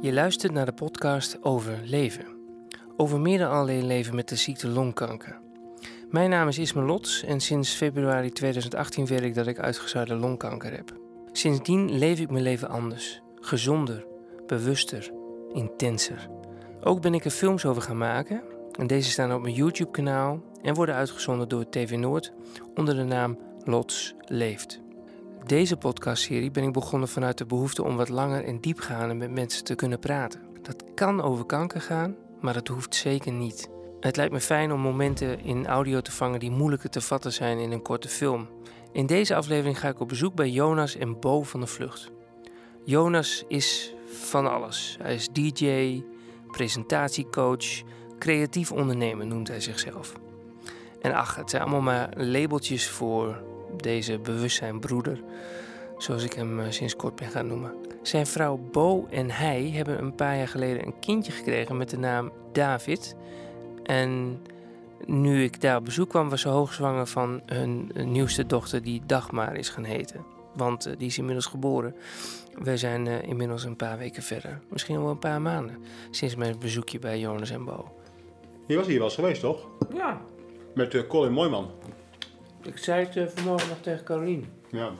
Je luistert naar de podcast over leven. Over meer dan alleen leven met de ziekte longkanker. Mijn naam is Isme Lots en sinds februari 2018 weet ik dat ik uitgezaaide longkanker heb. Sindsdien leef ik mijn leven anders. Gezonder, bewuster, intenser. Ook ben ik er films over gaan maken. En deze staan op mijn YouTube kanaal en worden uitgezonden door TV Noord onder de naam Lots Leeft. Deze podcastserie ben ik begonnen vanuit de behoefte om wat langer en diepgaander met mensen te kunnen praten. Dat kan over kanker gaan, maar dat hoeft zeker niet. Het lijkt me fijn om momenten in audio te vangen die moeilijker te vatten zijn in een korte film. In deze aflevering ga ik op bezoek bij Jonas en Bo van de Vlucht. Jonas is van alles. Hij is DJ, presentatiecoach, creatief ondernemer noemt hij zichzelf. En ach, het zijn allemaal maar labeltjes voor deze bewustzijnbroeder, zoals ik hem eh, sinds kort ben gaan noemen. Zijn vrouw Bo en hij hebben een paar jaar geleden een kindje gekregen met de naam David. En nu ik daar op bezoek kwam, was ze hoogzwanger van hun nieuwste dochter, die Dagmar is gaan heten. Want eh, die is inmiddels geboren. We zijn eh, inmiddels een paar weken verder. Misschien al wel een paar maanden sinds mijn bezoekje bij Jonas en Bo. Je was hier wel eens geweest, toch? Ja, Met eh, Colin Mooiman. ik zei het eh, vanmorgen nog tegen Carolien. Ja.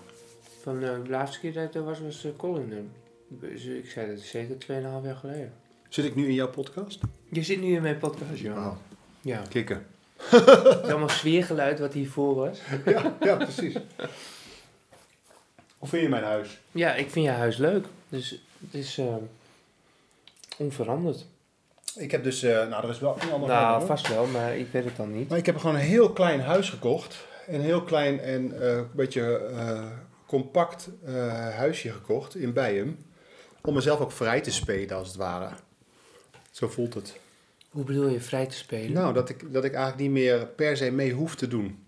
Van eh, de laatste keer dat ik er was, was eh, Colin er. Dus, eh, Ik zei dat zeker 2,5 jaar geleden. Zit ik nu in jouw podcast? Oh, Je zit nu in mijn podcast, Johan. Wauw. Ja, Kikken. het is allemaal sfeergeluid wat hiervoor was. Ja, ja, precies. Hoe vind je mijn huis? Ja, ik vind je huis leuk. Dus het is eh, onveranderd. Ik heb dus, eh, nou, er is wel een ander verhaal, Nou, hoor. vast wel, maar ik weet het dan niet. Maar ik heb gewoon een heel klein huis gekocht. Een heel klein en eh, een beetje eh, compact eh, huisje gekocht in Bijem. Om mezelf ook vrij te spelen, als het ware. Zo voelt het. Hoe bedoel je vrij te spelen? Nou, dat ik, dat ik eigenlijk niet meer per se mee hoef te doen.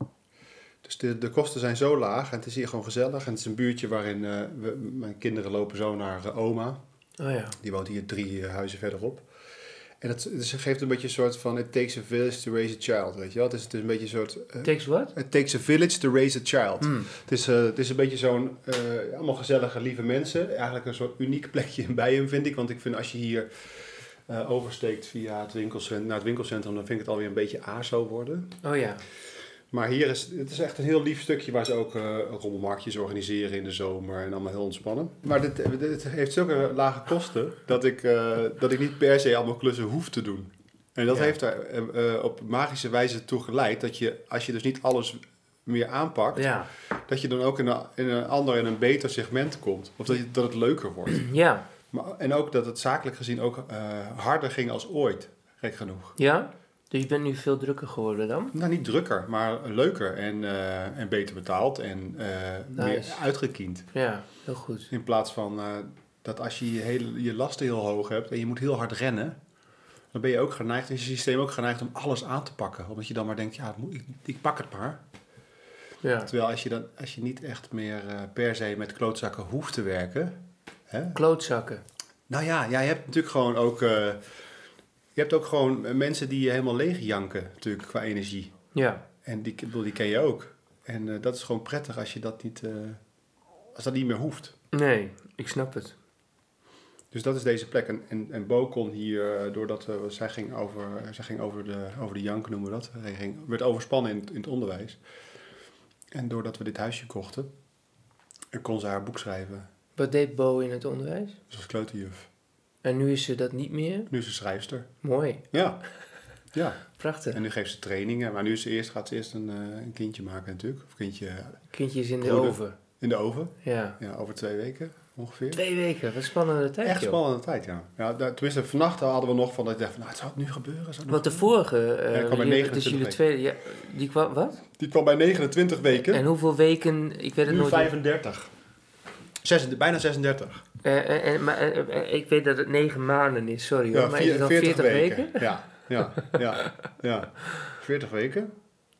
Dus de, de kosten zijn zo laag en het is hier gewoon gezellig. En het is een buurtje waarin eh, we, mijn kinderen lopen zo naar eh, oma. Oh ja. Die woont hier drie eh, huizen verderop. En dat dus het geeft een beetje een soort van... It takes a village to raise a child, weet je wel? Het is, het is een beetje een soort... eh, Takes what? it takes a village to raise a child. Mm. Het, is, eh, het is een beetje zo'n... eh, allemaal gezellige, lieve mensen. Eigenlijk een soort uniek plekje in Bijen, vind ik. Want ik vind als je hier... eh, oversteekt via het winkelcentrum, naar het winkelcentrum, dan vind ik het alweer een beetje aso worden. Oh ja. Maar hier is het is echt een heel lief stukje waar ze ook eh, rommelmarktjes organiseren in de zomer en allemaal heel ontspannen. Maar dit, dit heeft zulke lage kosten dat ik, eh, dat ik niet per se allemaal klussen hoef te doen. En dat Ja. heeft er eh, eh, op magische wijze toe geleid dat je, als je dus niet alles meer aanpakt, Ja. dat je dan ook in een, in een ander en een beter segment komt. Of dat, je, dat het leuker wordt. Ja. Maar, en ook dat het zakelijk gezien ook eh, harder ging als ooit, gek genoeg. Ja? Dus je bent nu veel drukker geworden dan? Nou, niet drukker, maar leuker en, eh, en beter betaald en eh, meer Nice. uitgekiend. Ja, heel goed. In plaats van eh, dat als je je, hele, je lasten heel hoog hebt en je moet heel hard rennen, dan ben je ook geneigd, is je systeem ook geneigd om alles aan te pakken. Omdat je dan maar denkt, ja, het moet, ik, ik pak het maar. Ja. Terwijl als je, dan, als je niet echt meer eh, per se met klootzakken hoeft te werken. Hè? Klootzakken. Nou ja, ja, je hebt natuurlijk gewoon ook, eh, je hebt ook gewoon eh, mensen die je helemaal leeg janken natuurlijk qua energie. Ja. En die, ik bedoel, die ken je ook. En eh, dat is gewoon prettig als je dat niet, eh, als dat niet meer hoeft. Nee, ik snap het. Dus dat is deze plek. En, en, en Bo kon hier, eh, doordat eh, zij ging, over, zij ging over, de, over de jank, noemen we dat. Hij ging, werd overspannen in, het- in het onderwijs. En doordat we dit huisje kochten, eh, kon ze haar boek schrijven. Wat deed Bo in het onderwijs? Ze was kleuterjuf. En nu is ze dat niet meer? Nu is ze schrijfster. Mooi, Ja. Ja, prachtig. en nu geeft ze trainingen. Maar nu is ze eerst, gaat ze eerst een, eh, een kindje maken natuurlijk. Of kindje Kindje is in de Broeder. oven. in de oven. Ja. Ja, over twee weken ongeveer. Twee weken, wat spannende tijd. Echt joh. spannende tijd, ja. ja daar- tenminste, vannacht hadden we nog van dat ik dacht van, nou, het zou het nu gebeuren. Zou het Want de nu vorige, eh Ja, ik kwam bij jullie- het is 29 jullie weken. tweede, ja, die kwam, wat? gebeuren? Die kwam bij 29 weken. En hoeveel weken, ik weet het nu nooit. 35. 36, bijna 36. Eh, eh, eh, maar, eh, eh, ik weet dat het negen maanden is, sorry hoor. maar is vier- het dan 40, weken? Ja, ja, ja, ja. 40 weken.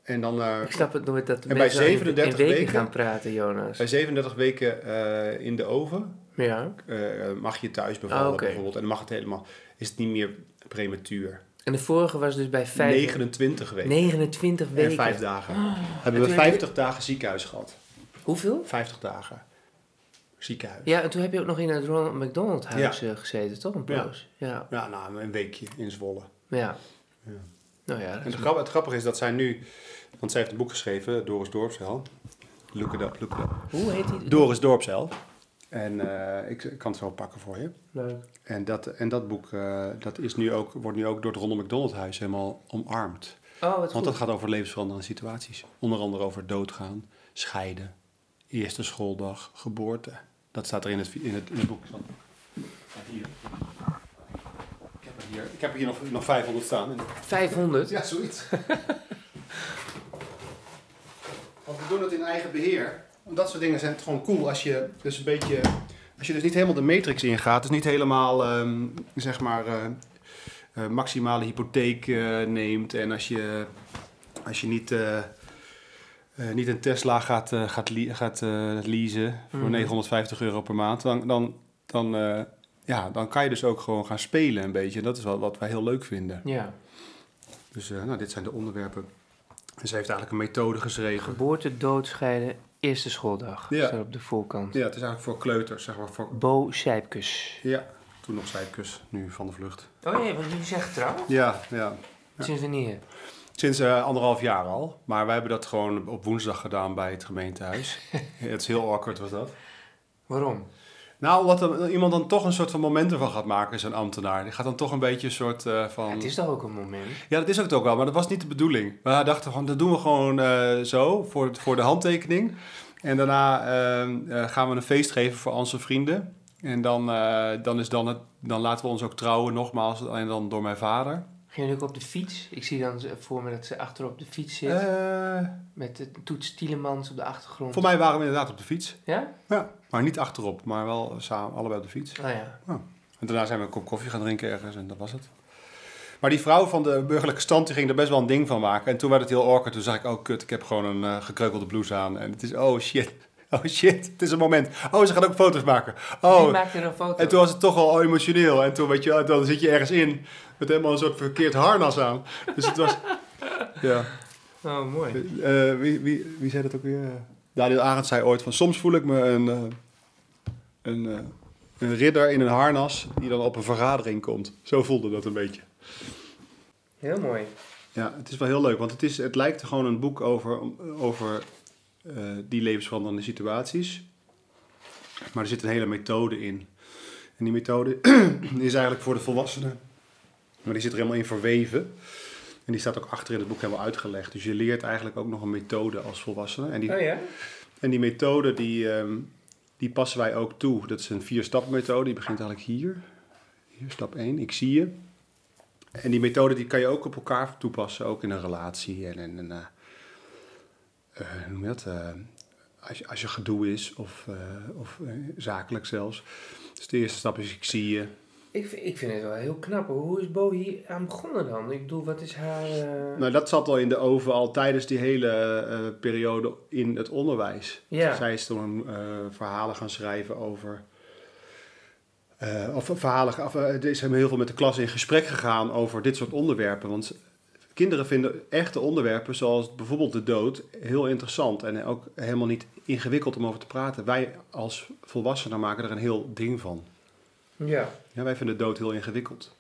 En dan eh, Ik snap het nooit dat de En bij mensen al in- in 37 weken, weken- gaan praten, Jonas. bij 37 weken eh, in de oven Ja, eh, mag je thuis bevallen Ah, oké. bijvoorbeeld. En dan mag het helemaal, is het niet meer prematuur. en de vorige was dus bij vijf, 29 weken 29 weken. en 5 dagen. Oh. Hebben we En toen heb je- 50 dagen ziekenhuis gehad. Hoeveel? 50 dagen. ziekenhuis. Ja, en toen heb je ook nog in het Ronald McDonald huis eh, gezeten, toch? Een Ja. poos. Ja. Ja, nou, een weekje in Zwolle. Ja. ja. Ja. Nou ja, dat En is- het, grap- het grappige is dat zij nu... Want zij heeft een boek geschreven, Doris Dorpsel. Look it up, look it up. hoe heet die? Doris Dorpsel. En eh, ik kan het zo pakken voor je. Leuk. En dat, en dat boek eh, dat is nu ook, wordt nu ook door het Ronald McDonald Huis helemaal omarmd. Oh, wat Want dat goed. gaat over levensveranderende situaties. Onder andere over doodgaan, scheiden, eerste schooldag, geboorte. Dat staat er in het, in het, in het boek. Zo. Staat hier. Ik heb er hier, ik heb er hier nog, nog 500 staan. En- 500? Ja, zoiets. Want we doen het in eigen beheer. Want Dat soort dingen zijn gewoon cool als je dus een beetje... Als je dus niet helemaal de matrix ingaat, dus niet helemaal, ehm, zeg maar, eh, eh, maximale hypotheek eh, neemt. En als je, als je niet, eh, eh, niet een Tesla gaat, eh, gaat, le- gaat eh, leasen voor Mhm. 950 euro per maand, dan, dan, dan, eh, ja, dan kan je dus ook gewoon gaan spelen een beetje. Dat is wel wat wij heel leuk vinden. Ja. Dus eh, nou, dit zijn de onderwerpen. En zij heeft eigenlijk een methode geschreven. Geboorte, dood, scheiden, eerste schooldag. Ja. Staat op de voorkant. Ja, het is eigenlijk voor kleuters, zeg maar. Voor... Bo Sijpkes. Ja, toen nog zijkus, nu van de vlucht. Oh nee, want jullie zijn getrouwd? Ja, ja. Sinds wanneer? Sinds eh, anderhalf jaar al. Maar wij hebben dat gewoon op woensdag gedaan bij het gemeentehuis. het is heel awkward, was dat. Waarom? Nou, omdat er- iemand dan toch een soort van momenten van gaat maken, zo'n ambtenaar. Die gaat dan toch een beetje een soort eh, van... Ja, het is toch ook een moment? Ja, dat is ook het ook wel, maar dat was niet de bedoeling. We dachten gewoon, dat doen we gewoon eh, zo, voor, voor de handtekening. En daarna ehm, eh, gaan we een feest geven voor onze vrienden. En dan, eh, dan, is dan, het, dan laten we ons ook trouwen, nogmaals, alleen dan door mijn vader. Ging jullie ook op de fiets? Ik zie dan ze- voor me dat ze achterop op de fiets zit. Eh, met de toets Tielemans op de achtergrond. voor mij waren we inderdaad op de fiets. Ja? Ja, maar niet achterop, maar wel samen, allebei op de fiets. Oh ja. En daarna zijn we een kop koffie gaan drinken ergens en dat was het. Maar die vrouw van de burgerlijke stand die ging er best wel een ding van maken. En toen werd het heel awkward. Toen zag ik, oh kut, ik heb gewoon een eh, gekreukelde blouse aan. En het is, oh shit, oh shit, het is een moment. Oh, ze gaat ook foto's maken. Wie Oh, maakt er een foto? en toen was het toch al emotioneel. En toen, weet je, wel, dan zit je ergens in met helemaal een soort verkeerd harnas aan. Dus het was, ja. Oh, mooi. Eh, eh, wie, wie, wie zei dat ook weer? Daniel Arendt zei ooit van... Soms voel ik me een, eh, een, eh, een ridder in een harnas die dan op een vergadering komt. Zo voelde dat een beetje. Heel mooi. Ja, het is wel heel leuk. Want het, is, het lijkt gewoon een boek over, over eh, die levensveranderende situaties. Maar er zit een hele methode in. En die methode is eigenlijk voor de volwassenen. Maar die zit er helemaal in verweven. En die staat ook achter in het boek helemaal uitgelegd. Dus je leert eigenlijk ook nog een methode als volwassene. En die, Oh ja? en die methode die, ehm, die passen wij ook toe. Dat is een vier-stap methode. Die begint eigenlijk hier. Hier, stap 1. Ik zie je. En die methode die kan je ook op elkaar toepassen. Ook in een relatie. En, en, en eh, eh, hoe noem je dat? Eh, als, je, als je gedoe is. Of, eh, of eh, zakelijk zelfs. Dus de eerste stap is ik zie je. Ik, vind- ik vind het wel heel knap. hoor. Hoe is Bo hier aan begonnen dan? Ik bedoel, wat is haar... eh, Nou, dat zat al in de oven al tijdens die hele eh, periode in het onderwijs. Ja. Zij is toen eh, verhalen gaan schrijven over. eh, of verhalen. Of, eh, er is hem heel veel met de klas in gesprek gegaan over dit soort onderwerpen. Want kinderen vinden echte onderwerpen, zoals bijvoorbeeld de dood, heel interessant. En ook helemaal niet ingewikkeld om over te praten. Wij als volwassenen maken er een heel ding van. Ja. Ja, wij vinden dood heel ingewikkeld.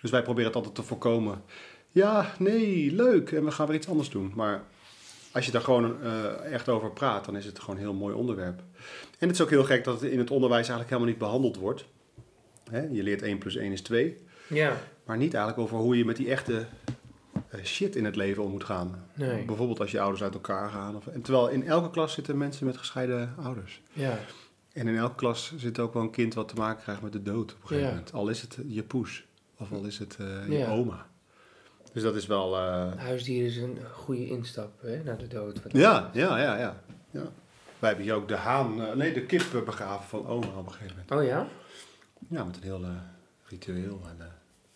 Dus wij proberen het altijd te voorkomen. Ja, nee, leuk. En we gaan weer iets anders doen. Maar als je daar gewoon eh, echt over praat, dan is het gewoon een heel mooi onderwerp. En het is ook heel gek dat het in het onderwijs eigenlijk helemaal niet behandeld wordt. Hè, je leert 1 plus 1 is 2. Ja. Maar niet eigenlijk over hoe je met die echte eh, shit in het leven om moet gaan. Nee. Bijvoorbeeld als je ouders uit elkaar gaan. Of, en terwijl in elke klas zitten mensen met gescheiden ouders. Ja. En in elke klas zit ook wel een kind wat te maken krijgt met de dood op een gegeven Ja. moment. Al is het eh, je poes, of al is het eh, je Ja. oma. Dus dat is wel... eh, Huisdier is een goede instap hè, naar de dood. Wat- ja, ja, ja, ja, ja. Wij hebben hier ook de haan, eh, nee, de kip eh, begraven van oma op een gegeven moment. Oh ja? Ja, met een heel eh, ritueel. En, eh,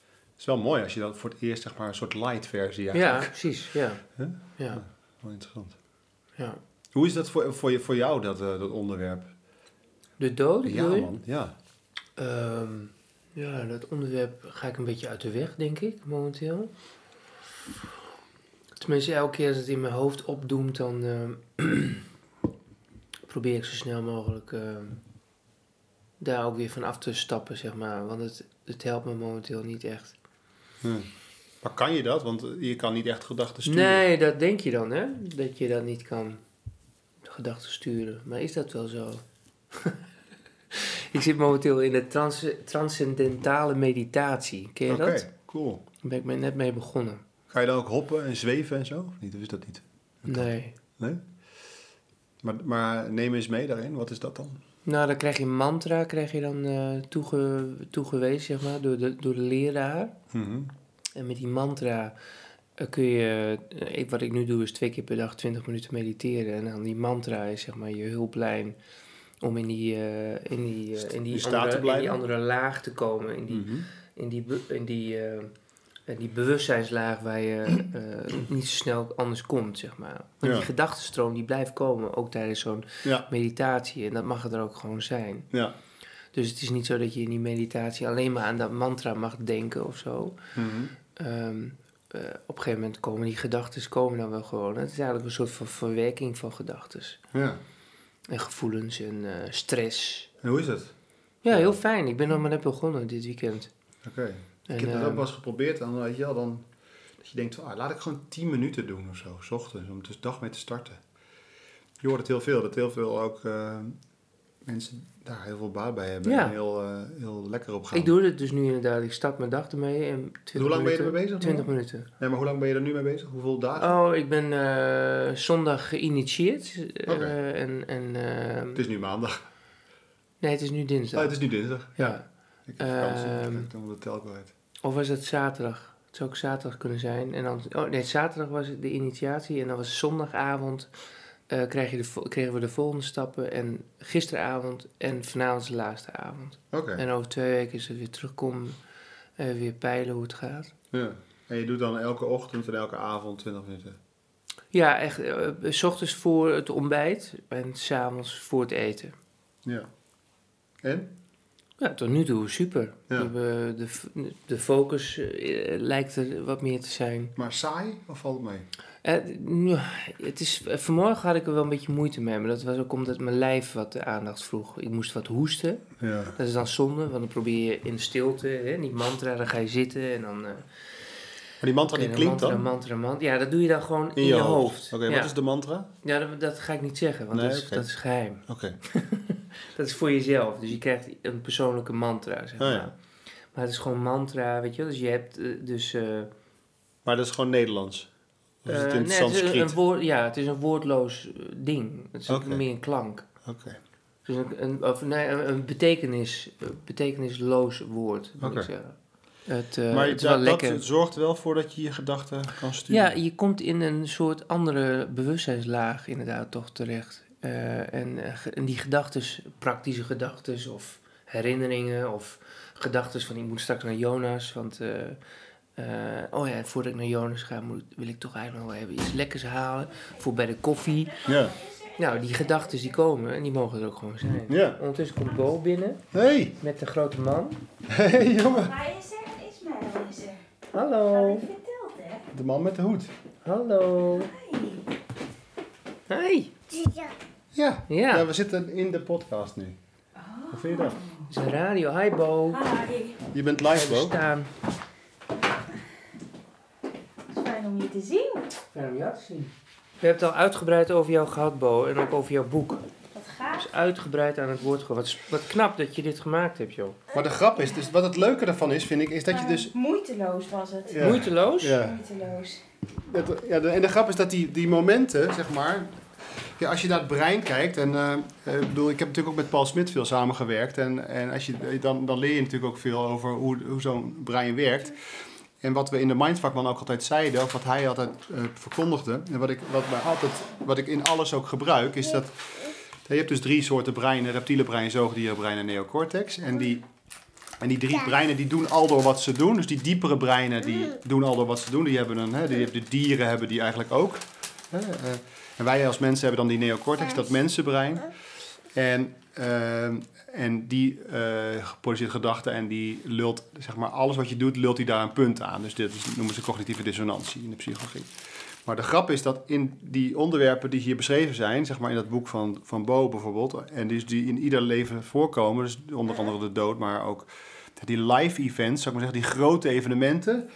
het is wel mooi als je dat voor het eerst, zeg maar, een soort light versie Ja, eigenlijk. precies. Ja. Huh? Ja. Wel interessant. ja. Hoe is dat voor, voor, je, voor jou, dat, eh, dat onderwerp? De dood, Ja, bedoel je? man, ja. Ehm, ja, dat onderwerp ga ik een beetje uit de weg, denk ik, momenteel. Tenminste, elke keer als het in mijn hoofd opdoemt, dan ehm, probeer ik zo snel mogelijk ehm, daar ook weer van af te stappen, zeg maar. Want het, het helpt me momenteel niet echt. Hm. Maar kan je dat? Want eh, je kan niet echt gedachten sturen. Nee, dat denk je dan, hè? Dat je dat niet kan. De gedachten sturen. Maar is dat wel zo? ik zit momenteel in de trans- transcendentale meditatie. Ken je Oké, dat? cool. Daar ben ik me net mee begonnen. Ga je dan ook hoppen en zweven en zo? Of niet? Of is dat niet? Nee. Nee? Maar, maar neem eens mee daarin. Wat is dat dan? Nou, dan krijg je een mantra, krijg je dan eh, toege, toegewezen, zeg maar, door de, door de leraar. Mhm. En met die mantra eh, kun je, eh, ik, wat ik nu doe is twee keer per dag 20 minuten mediteren. En dan die mantra is zeg maar je hulplijn om in die, eh, in die, eh, in In die, staat te andere, in die blijven. andere laag te komen. In die, Mhm. in die, be- in die, eh, in die bewustzijnslaag waar je eh, niet zo snel anders komt, zeg maar. Want Ja. die gedachtenstroom die blijft komen, ook tijdens zo'n Ja, meditatie. En dat mag er ook gewoon zijn. ja. Dus het is niet zo dat je in die meditatie alleen maar aan dat mantra mag denken of zo. Mhm. Ehm, eh, op een gegeven moment komen die gedachten komen dan wel gewoon. Het is eigenlijk een soort van verwerking van gedachten. ja. En gevoelens en eh, stress. En hoe is het? Ja, heel fijn. Ik ben nog maar net begonnen dit weekend. Oké. En, ik heb dat ook ehm, wel eens geprobeerd. En dan, weet je wel, dan, dat je denkt, van, ah, laat ik gewoon 10 minuten doen of zo, 's ochtends, om dus dag mee te starten. Je hoort het heel veel, dat heel veel ook eh, mensen daar heel veel baat bij hebben. Ja. En heel, eh, heel lekker op gaan. ik doe dit dus nu inderdaad. Ik start mijn dag ermee. En 20 Hoe lang ben je minuten- ermee bezig, Ah. 20 minuten. Nee, maar hoe lang ben je er nu mee bezig? Hoeveel dagen? Oh, ik ben eh, zondag geïnitieerd. Eh, Oké. en, en, ehm, Het is nu maandag. nee, het is nu dinsdag. Oh, het is nu dinsdag. ja. Ik heb vakantie, Ehm. ik ben de tel kwijt. Of was het zaterdag? Het zou ook zaterdag kunnen zijn. En dan, oh nee, zaterdag was het de initiatie. En dan was zondagavond eh kreeg je de, vo- kregen we de volgende stappen. En gisteravond en vanavond is de laatste avond. Oké. En over twee weken is het weer terugkomen. eh, weer peilen hoe het gaat. Ja. En je doet dan elke ochtend en elke avond 20 minuten. Ja, echt. eh, s ochtends voor het ontbijt en s'avonds voor het eten. Ja. En? Ja, tot nu toe super. Ja. We hebben eh, De, f- de focus eh, lijkt er wat meer te zijn. Maar saai of valt het mee? Eh, nou, het is, eh, vanmorgen had ik er wel een beetje moeite mee, maar dat was ook omdat mijn lijf wat de aandacht vroeg. Ik moest wat hoesten. Ja. Dat is dan zonde, want dan probeer je in stilte, hè, die mantra, dan ga je zitten en dan... eh, Maar die mantra die oké, klinkt mantra, dan Mantra, mantra, Ja, dat doe je dan gewoon in, in je hoofd. Oké, ja, wat is de mantra? ja dat, dat ga ik niet zeggen, want Nee, dat, is, oké. dat is geheim. Oké. Dat is voor jezelf, dus je krijgt een persoonlijke mantra, zeg Oh, maar. ja. Maar het is gewoon mantra, weet je wel. Dus je hebt eh, dus... eh, Maar dat is gewoon Nederlands. Of is Dus het eh, in het nee, is een Sanskriet? woord, ja, het is een woordloos eh, ding. Het is Oké. meer een klank. Oké. Dus een, een, of, nee, een, een betekenis, een betekenisloos woord, moet Oké. ik zeggen. Het, eh, maar het is da- wel dat lekker. zorgt wel voor dat je je gedachten kan sturen. ja, je komt in een soort andere bewustzijnslaag inderdaad toch terecht. Eh, en, eh, ge- en die gedachten, praktische gedachten of herinneringen of gedachten van ik moet straks naar Jonas, want... eh, eh, oh ja, en voordat ik naar Jonas ga, moet, wil ik toch eigenlijk nog wel even iets lekkers halen. Voor bij de koffie. Ja. Nou, die gedachten die komen en die mogen er ook gewoon zijn. Ja. Ondertussen komt Bo binnen. Hey. Met de grote man. hey, jongen. Hij is er, Ismaël is er. Hallo. Had ik verteld, hè? De man met de hoed. Hallo. Hey. Ja. Ja. Ja, we zitten in de podcast nu. Hoe vind je dat? het is een radio. Hi Bo. Oh, Hi. Je bent live, We bro. staan. Het is fijn om je te zien. Fijn om jou te zien. We hebben het al uitgebreid over jou gehad, Bo. En ook over jouw boek. Wat gaaf. Dus uitgebreid aan het woord gewoon. Wat, s- wat knap dat je dit gemaakt hebt, joh. Maar de grap is, dus wat het leuke daarvan is, vind ik, is dat je Maar dus... Moeiteloos was het. Ja. Moeiteloos. Ja. Moeiteloos. Het- ja, de- en de grap is dat die, die momenten, zeg maar. Ja, als je naar het brein kijkt, en eh, eh, ik bedoel, ik heb natuurlijk ook met Paul Smit veel samengewerkt. En, en als je, dan, dan leer je natuurlijk ook veel over hoe, hoe zo'n brein werkt. En wat we in de Mindvakman ook altijd zeiden, of wat hij altijd eh, verkondigde, en wat ik, wat, mij altijd, wat ik in alles ook gebruik, is dat je hebt dus drie soorten breinen: reptiele brein, zoogdierenbrein en neocortex. En die, en die drie breinen die doen al door wat ze doen. Dus die diepere breinen die doen al door wat ze doen. Die hebben een, hè, die, de dieren hebben die eigenlijk ook. Hè, eh, en wij als mensen hebben dan die neocortex, dat mensenbrein. En, ehm, en die eh, produceert gedachten en die lult, zeg maar, alles wat je doet, lult hij daar een punt aan. Dus dit is, noemen ze cognitieve dissonantie in de psychologie. Maar de grap is dat in die onderwerpen die hier beschreven zijn, zeg maar in dat boek van, van Bo bijvoorbeeld, en dus die in ieder leven voorkomen, dus onder andere de dood, maar ook die live events, zou ik maar zeggen, die grote evenementen,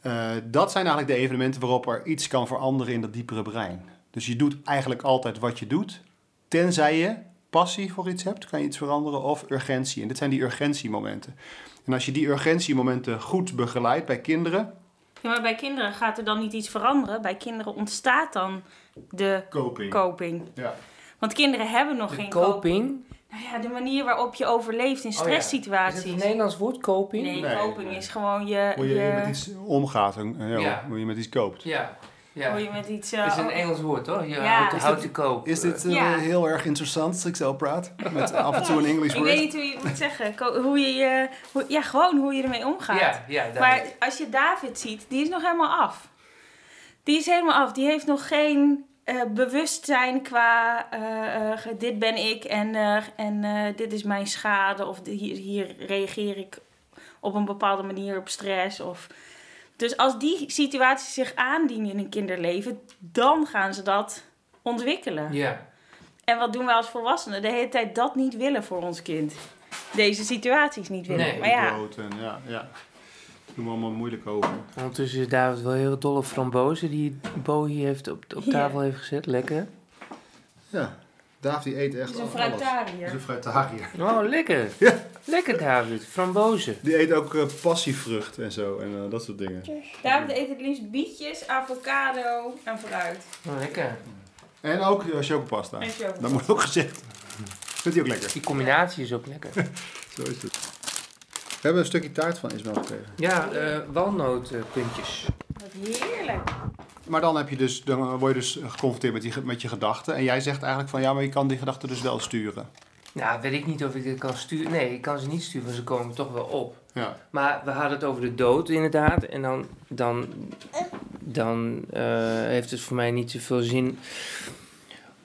eh, dat zijn eigenlijk de evenementen waarop er iets kan veranderen in dat diepere brein. Dus je doet eigenlijk altijd wat je doet, tenzij je passie voor iets hebt, kan je iets veranderen, of urgentie. En dit zijn die urgentiemomenten. En als je die urgentiemomenten goed begeleidt bij kinderen, Ja, maar bij kinderen gaat er dan niet iets veranderen. Bij kinderen ontstaat dan de coping. coping. Ja. Want kinderen hebben nog De geen coping. coping. Nou ja, de manier waarop je overleeft in ja. Is het stresssituaties. een Nederlands woord, coping? Nee, Nee, coping nee. is gewoon je... Hoe je met iets omgaat, en, eh, Ja. hoe je met iets koopt. Ja. Hoe ja. je met iets... eh, Het is een oh, Engels woord, toch? Ja, Ja. How, to, Is how to cope. Is dit eh, Ja. heel erg interessant als ik zo praat? Met af en toe een English ik weet word. niet hoe je het moet zeggen. Co- Hoe je je... hoe- ja, gewoon hoe je ermee omgaat. Ja, ja, daar- Maar als je David ziet, die is nog helemaal af. Die is helemaal af. Die heeft nog geen eh, bewustzijn qua eh, eh, ge- dit ben ik en, eh, en eh, dit is mijn schade. Of de- hier, hier reageer ik op een bepaalde manier op stress. Of... Dus als die situaties zich aandienen in een kinderleven, dan gaan ze dat ontwikkelen. Ja. En wat doen wij als volwassenen? De hele tijd dat niet willen voor ons kind. Deze situaties niet willen. Nee. maar ja, Brood en ja, ja. Doen we allemaal moeilijk over. Ondertussen is David wel heel dol op frambozen die Bo hier heeft op, op Ja. tafel heeft gezet. Lekker. Ja, Daaf die eet echt het is een alles. fruitariër. Dat is een fruitariër. Oh, lekker. Lekker, David. Frambozen. Die eet ook eh, passievrucht en zo en eh, dat soort dingen. David eet het liefst bietjes, avocado en fruit. Oh, lekker. En ook eh, chocopasta. En chocopasta. Dat moet ook gezegd. Vindt hij ook lekker. Die combinatie is ook lekker. Zo is het. We hebben een stukje taart van Ismael gekregen. Ja, eh walnootpuntjes. Wat heerlijk. Maar dan, heb je dus, dan word je dus geconfronteerd met, die, ge- met je gedachten. En jij zegt eigenlijk van ja, maar je kan die gedachten dus wel sturen. Nou, weet ik niet of ik dit kan sturen. Nee, ik kan ze niet sturen, want ze komen toch wel op. Ja. Maar we hadden het over de dood, inderdaad. En dan, dan, dan eh, heeft het voor mij niet zoveel zin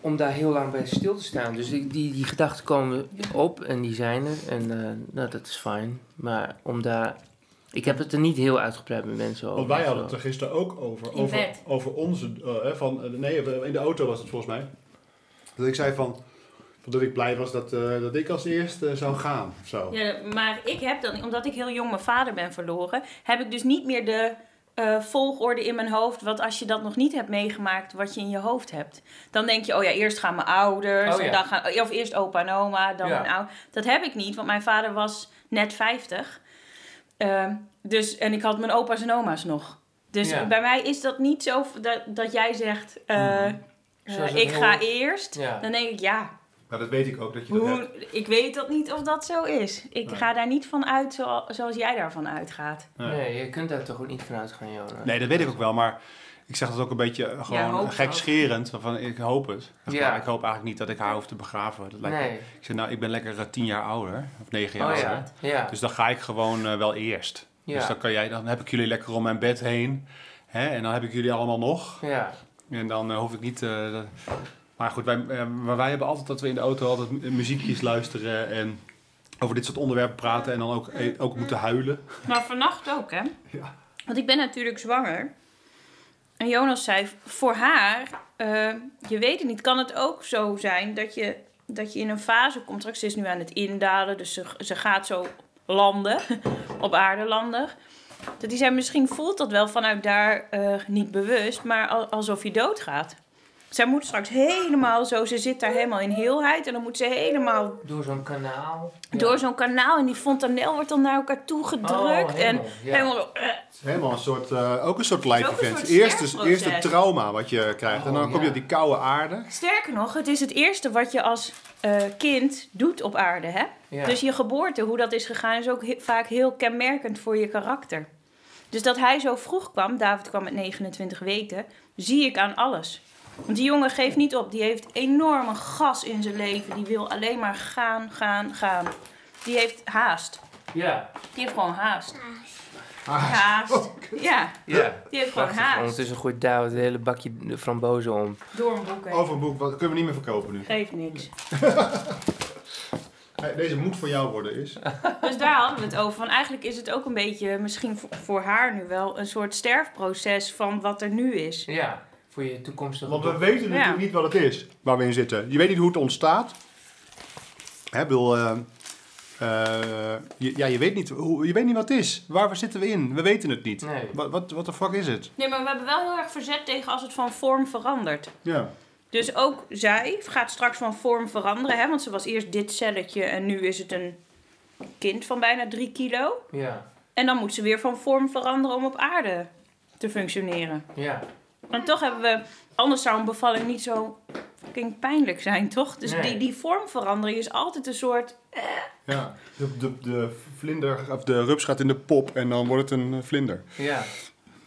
om daar heel lang bij stil te staan. Dus die, die, die gedachten komen op en die zijn er. En eh, nou, dat is fijn. Maar om daar... Ik heb het er niet heel uitgebreid met mensen over. Want wij hadden Zo. het er gisteren ook over. In Over, bed. over onze. eh, hè, van, eh, nee, in de auto was het volgens mij. Dat ik zei van. Dat ik blij was dat, eh, dat ik als eerste zou gaan. Of zo. Ja, maar ik heb dan, omdat ik heel jong mijn vader ben verloren, heb ik dus niet meer de eh, volgorde in mijn hoofd. Wat als je dat nog niet hebt meegemaakt, wat je in je hoofd hebt. Dan denk je, oh ja, eerst gaan mijn ouders. Oh ja. en dan gaan, of eerst opa en oma, dan Ja. mijn ouders. Dat heb ik niet, want mijn vader was net 50. Ehm, dus, en ik had mijn opa's en oma's nog. Dus Ja. Mm-hmm. bij mij is dat niet zo v- dat, dat jij zegt, eh, Zoals het eh, ik ga hoort. eerst. Ja. Dan denk ik, ja, Maar Nou, dat weet ik ook dat hoe, ik weet dat niet of dat zo is. Ik Nee. ga daar niet van uit zo, zoals jij daarvan uitgaat. Nee, je kunt daar toch ook niet vanuit gaan, Jonas? Nee, dat weet ik ook wel. Maar ik zeg dat ook een beetje eh, Ja, gewoon hoop gekscherend. Van, ik hoop het. Zeg Ja. maar, ik hoop eigenlijk niet dat ik haar hoef te begraven. Dat lijkt me- Nee. Ik zeg nou, ik ben lekker eh, tien jaar ouder. Of negen jaar Oh ouder. ja. Ja. Dus dan ga ik gewoon eh, wel eerst. Ja. Dus dan, kan jij, dan heb ik jullie lekker om mijn bed heen. Hè? En dan heb ik jullie allemaal nog. ja. En dan eh, hoef ik niet. eh, dat- maar goed, wij, eh, maar wij hebben altijd dat we in de auto altijd mu- muziekjes luisteren en over dit soort onderwerpen praten en dan ook, eh, ook moeten huilen. Maar vannacht ook, hè? Ja. Want ik ben natuurlijk zwanger. En Jonas zei, voor haar, eh, je weet het niet, kan het ook zo zijn dat je, dat je in een fase komt. Straks, Ze is nu aan het indalen, dus ze, ze gaat zo landen, op aarde landen. Dat hij zei, misschien voelt dat wel vanuit daar eh, niet bewust, maar al- alsof je doodgaat. Zij moet straks helemaal zo, ze zit daar helemaal in heelheid en dan moet ze helemaal Door zo'n kanaal. door zo'n kanaal en die fontanel wordt dan naar elkaar toe gedrukt. Oh, en helemaal, ja. helemaal zo, eh, Het is helemaal een soort, eh, ook een soort Het live is ook een event. soort Eerst, dus, sterfproces. eerst het trauma wat je krijgt en Oh, dan kom je ja. op die koude aarde. Sterker nog, het is het eerste wat je als eh, kind doet op aarde. Hè? Ja. Dus je geboorte, hoe dat is gegaan, is ook he- vaak heel kenmerkend voor je karakter. Dus dat hij zo vroeg kwam, David kwam met 29 weken, zie ik aan alles. Want die jongen geeft niet op. Die heeft enorme gas in zijn leven. Die wil alleen maar gaan, gaan, gaan. Die heeft haast. Ja. Die heeft gewoon haast. Haast. ja, Ja. die heeft gewoon Prachtig. haast. Ondertussen gooit David het hele bakje frambozen om. Door een boek heen. Over een boek, wat dat kunnen we niet meer verkopen nu. Geeft niks. Hey, Deze moet voor jou worden is. Dus daar hadden we het over. Van eigenlijk is het ook een beetje, misschien voor, voor haar nu wel, een soort sterfproces van wat er nu is. Ja. Voor je toekomstige Want we dochter. weten natuurlijk Ja. niet wat het is waar we in zitten. Je weet niet hoe het ontstaat. Hè, ik bedoel, eh, eh, je, ja, je weet, niet, hoe, je weet niet wat het is. Waar, waar zitten we in? We weten het niet. Nee. Wat Wat wat de fuck is het? Nee, maar we hebben wel heel erg verzet tegen als het van vorm verandert. Ja. Dus ook zij gaat straks van vorm veranderen, hè? want ze was eerst dit celletje en nu is het een kind van bijna 3 kilo. Ja, En dan moet ze weer van vorm veranderen om op aarde te functioneren. ja. Want toch hebben we, anders zou een bevalling niet zo fucking pijnlijk zijn, toch? Dus Nee. die, die vormverandering is altijd een soort. ja. De, de, de, vlinder, of de rups gaat in de pop en dan wordt het een eh, vlinder. Ja.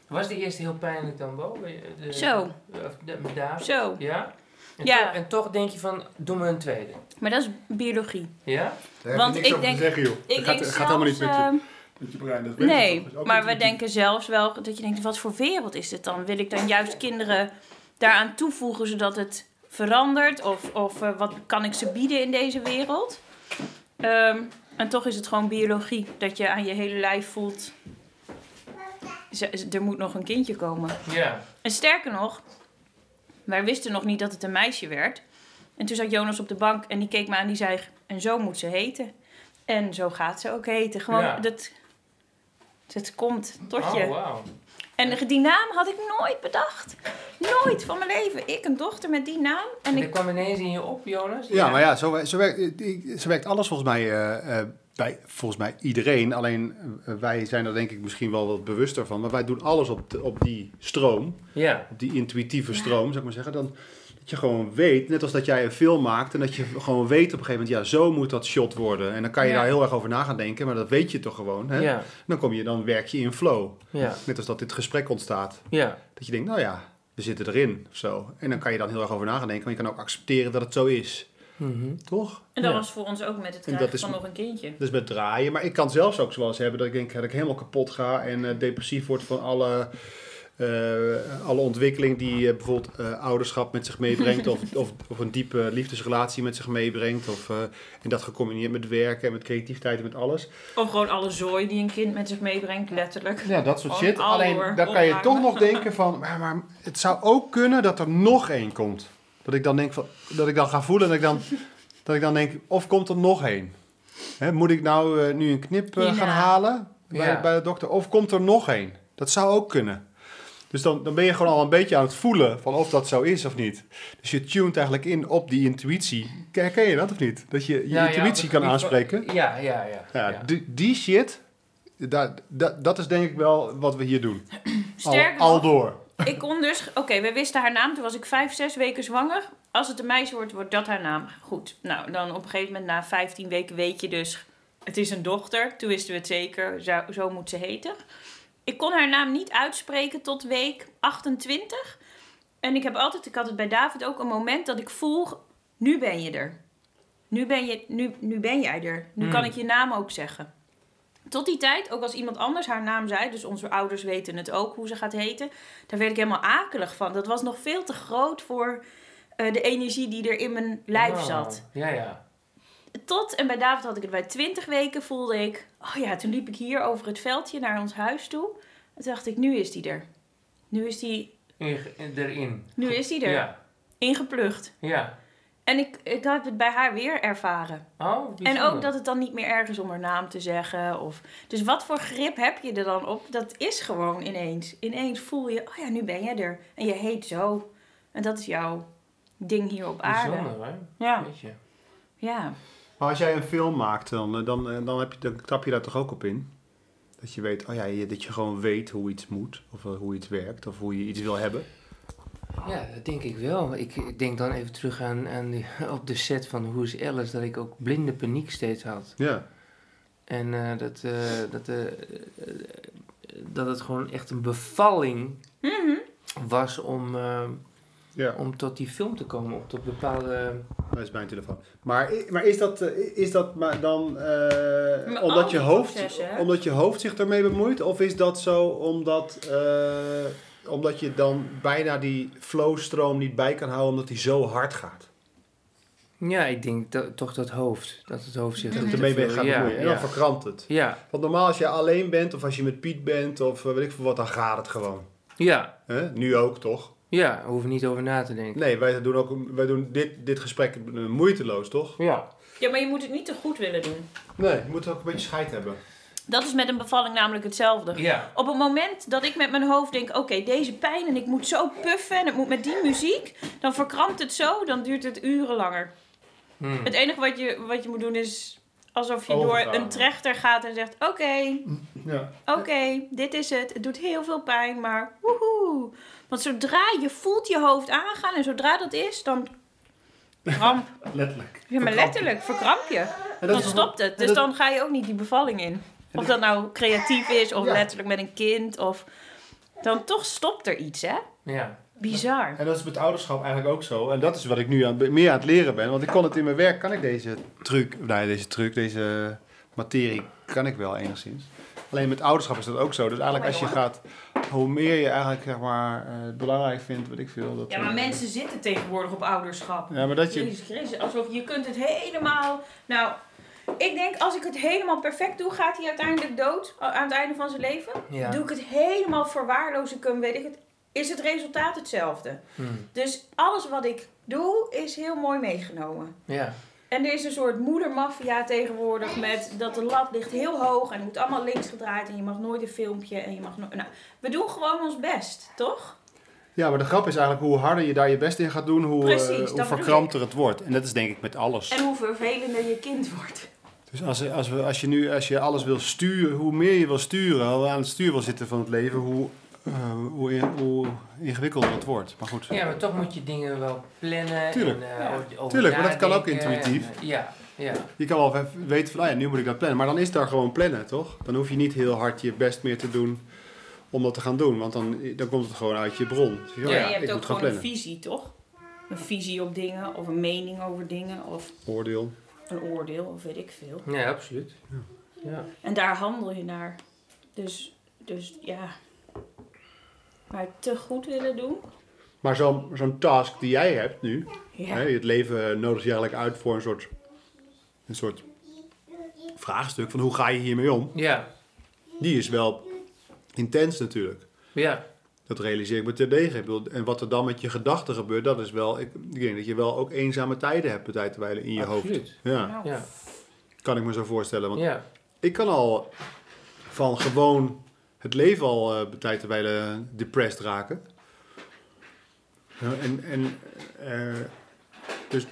Was de eerste heel pijnlijk dan, Bo? De- Zo. Of de- daar? Zo. Ja? En, Ja. Toch, en toch denk je van, doe me een tweede. Maar dat is biologie. Ja? Daar heb Want je niks ik over denk- te zeggen, joh. Ik Het denk gaat, het zelfs, gaat helemaal niet met je, ehm, met je brein. Dat weet je Nee, toch? Dat is ook maar we natuurlijk- denken zelfs wel dat je denkt: wat voor wereld is dit dan? Wil ik dan juist kinderen daaraan toevoegen zodat het verandert? Of, of eh, wat kan ik ze bieden in deze wereld? Ehm, en toch is het gewoon biologie dat je aan je hele lijf voelt: ze- ze- er moet nog een kindje komen. Ja. En sterker nog, wij wisten nog niet dat het een meisje werd. En toen zat Jonas op de bank en die keek me aan die zei: En zo moet ze heten. En zo gaat ze ook heten. Gewoon, Ja. dat, dat komt tot Oh, je. wauw. En die naam had ik nooit bedacht. Nooit van mijn leven. Ik, een dochter met die naam. En Dat ik, kwam ineens in je op, Jonas? Ja, maar ja, zo, wer- zo, werkt, ik- zo werkt alles volgens mij eh, eh, bij volgens mij iedereen. Alleen eh, wij zijn er denk ik misschien wel wat bewuster van. Maar wij doen alles op, de- op die stroom, Ja. op die intuïtieve stroom, zou ik maar zeggen. Dan, dat je gewoon weet, net als dat jij een film maakt... en dat je gewoon weet op een gegeven moment, ja, zo moet dat shot worden. En dan kan je Ja. daar heel erg over na gaan denken, maar dat weet je toch gewoon. Hè? Ja. Dan, kom je, dan werk je in flow. Ja. Net als dat dit gesprek ontstaat. Ja. Dat je denkt, nou ja, we zitten erin of zo. En dan kan je dan heel erg over na gaan denken. Maar je kan ook accepteren dat het zo is. Mhm. Toch? en dat Ja. was voor ons ook met het En dat krijgen is- van nog een kindje. Dus met draaien. Maar ik kan zelfs ook zoals hebben dat ik denk dat ik helemaal kapot ga. En eh, depressief word van alle, eh, alle ontwikkeling die eh, bijvoorbeeld eh, ouderschap met zich meebrengt. of, of, of een diepe liefdesrelatie met zich meebrengt. Of, eh, en dat gecombineerd met werken en met creativiteit en met alles. Of gewoon alle zooi die een kind met zich meebrengt, letterlijk. Ja, dat soort Gewoon shit. ouder Alleen dan kan je opruimen. toch nog denken van, maar, maar het zou ook kunnen dat er nog één komt. Dat ik dan denk van, dat ik dan ga voelen dat ik dan, dat ik dan denk, of komt er nog één? Hè, moet ik nou eh, nu een knip eh, Ja. gaan halen bij, Ja. bij de dokter? Of komt er nog één? Dat zou ook kunnen. Dus dan, dan ben je gewoon al een beetje aan het voelen van of dat zo is of niet. Dus je tunt eigenlijk in op die intuïtie. Herken je dat of niet? Dat je je Ja, ja, op het intuïtie gebied kan van- aanspreken. Ja, ja, ja. Ja, ja. Die, die shit, da, da- dat is denk ik wel wat we hier doen. Al, Sterker al nog, door. Ik kon dus, oké, we wisten haar naam. Toen was ik vijf, zes weken zwanger. Als het een meisje wordt, wordt dat haar naam. Goed. Nou, dan op een gegeven moment na 15 weken weet je dus, het is een dochter. Toen wisten we het zeker, zo, zo moet ze heten. Ik kon haar naam niet uitspreken tot week 28. En ik heb altijd, ik had het bij David ook een moment dat ik voel, nu ben je er. Nu ben, je, nu, nu ben jij er. Nu kan Mm. ik je naam ook zeggen. Tot die tijd, ook als iemand anders haar naam zei, dus onze ouders weten het ook hoe ze gaat heten, daar werd ik helemaal akelig van. Dat was nog veel te groot voor eh, de energie die er in mijn lijf Wauw. zat. Ja, ja. Tot, en bij David had ik het bij 20 weken, voelde ik, oh ja, toen liep ik hier over het veldje naar ons huis toe. En toen dacht ik, nu is die er. Nu is die, In- in- erin. nu is die er. Ja. Ingeplucht. Ja. En ik, ik had het bij haar weer ervaren. Oh, En bijzonder. ook dat het dan niet meer erg is om haar naam te zeggen. Of... Dus wat voor grip heb je er dan op? Dat is gewoon ineens. Ineens voel je, oh ja, nu ben jij er. En je heet zo. En dat is jouw ding hier op aarde. Bijzonder, hè? Ja. Weet je. ja. Maar als jij een film maakt, dan, eh, dan, eh, dan, heb je, dan trap je daar toch ook op in? Dat je weet, oh ja, je- dat je gewoon weet hoe iets moet. Of eh, hoe iets werkt. Of hoe je iets wil hebben. Ja, dat denk ik wel. Ik ik denk dan even terug aan, aan die, op de set van Who's Alice, dat ik ook blinde paniek steeds had. Ja. En eh, dat, eh, dat, eh, eh, dat het gewoon echt een bevalling Mhm. was om, eh, ja. om tot die film te komen, op tot bepaalde... Dat is mijn telefoon. Maar, i- maar is dat, eh, is dat maar dan eh, Maar al omdat, je die hoofd, processen, hè? omdat je hoofd zich daarmee bemoeit? Of is dat zo omdat, eh, omdat je dan bijna die flowstroom niet bij kan houden omdat die zo hard gaat? Ja, ik denk dat- toch dat hoofd, dat het hoofd zich... Dat er het te ermee veel- mee gaat ja, bemoeien. En dan Ja, verkrampt het. ja, Want normaal als je alleen bent of als je met Piet bent of eh, weet ik veel wat, dan gaat het gewoon. ja, Hè? Nu ook toch? Ja, daar hoef je niet over na te denken. Nee, wij doen, ook, wij doen dit, dit gesprek eh, moeiteloos, toch? Ja. Ja, maar je moet het niet te goed willen doen. Nee, je moet ook een beetje scheid hebben. Dat is met een bevalling namelijk hetzelfde. Ja. Op het moment dat ik met mijn hoofd denk: oké, deze pijn en ik moet zo puffen en het moet met die muziek, dan verkrampt het zo, dan duurt het uren langer. Hmm. Het enige wat je, wat je moet doen is alsof je Overgaan. door een trechter gaat en zegt: oké, Ja. oké, dit is het. Het doet heel veel pijn, maar woehoe. Want zodra je voelt je hoofd aangaan en zodra dat is, dan kramp. Letterlijk. Ja, maar letterlijk, verkramp je. En Dan is- stopt het. Dus dat- dan ga je ook niet die bevalling in. Of dat nou creatief is, of letterlijk met een kind, of... Dan toch stopt er iets, hè? Ja. Bizar. En dat is met ouderschap eigenlijk ook zo. En dat is wat ik nu aan, meer aan het leren ben. Want ik kon het in mijn werk, kan ik deze truc, nee, deze truc, deze materie, kan ik wel enigszins. Alleen met ouderschap is dat ook zo. Dus eigenlijk als je gaat, hoe meer je eigenlijk zeg maar, eh, het belangrijk vindt, weet ik veel. Dat, eh, zitten tegenwoordig op ouderschap. Ja, maar dat je... Christus, alsof je kunt het helemaal... Nou, ik denk als ik het helemaal perfect doe, gaat hij uiteindelijk dood. a- Aan het einde van zijn leven. Ja. Doe ik het helemaal verwaarloos, ik hem, weet ik het... Is het resultaat hetzelfde. Hmm. Dus alles wat ik doe, is heel mooi meegenomen. Ja. En er is een soort moedermafia tegenwoordig met dat de lat ligt heel hoog en het moet allemaal links gedraaid en je mag nooit een filmpje en je mag nooit... Nou, we doen gewoon ons best, toch? Ja, maar de grap is eigenlijk hoe harder je daar je best in gaat doen, hoe, eh, Precies, dat hoe bedoel verkrampter het wordt. En dat is denk ik met alles. En hoe vervelender je kind wordt. Dus als, als, we, als je nu als je alles wil sturen, hoe meer je wil sturen, hoe aan het stuur wil zitten van het leven, hoe, eh, hoe, in- hoe ingewikkelder het wordt. Maar goed. ja, maar toch moet je dingen wel plannen. Tuurlijk. En, eh, Ja. over- over Tuurlijk, maar dat kan ook nadenken en, intuïtief. eh, ja. Ja. Je kan wel even weten van, ah ja, nu moet ik dat plannen. Maar dan is daar gewoon plannen, toch? Dan hoef je niet heel hard je best meer te doen om dat te gaan doen. Want dan, dan komt het gewoon uit je bron. Dus je, oh Ja, je ik hebt ook moet gaan gewoon een plannen. visie, toch? Een visie op dingen of een mening over dingen of Oordeel. een oordeel of weet ik veel. Nee, absoluut. Ja. En daar handel je naar. Dus, dus ja. Maar het te goed willen doen? Maar zo'n zo'n task die jij hebt nu, Ja. Hè, het leven eh, nodigt je eigenlijk uit voor een soort, een soort vraagstuk van hoe ga je hiermee om? Ja. Die is wel intens natuurlijk. Ja. Dat realiseer ik me terdege. Ik bedoel, En wat er dan met je gedachten gebeurt, dat is wel... Ik, ik denk dat je wel ook eenzame tijden hebt bij tijdwijlen in je hoofd. Absoluut. Ja, Nou, Ja. kan ik me zo voorstellen. Want Ja. ik kan al van gewoon het leven al eh, bij tijdwijlen depressed raken. Ja, en... en eh, dus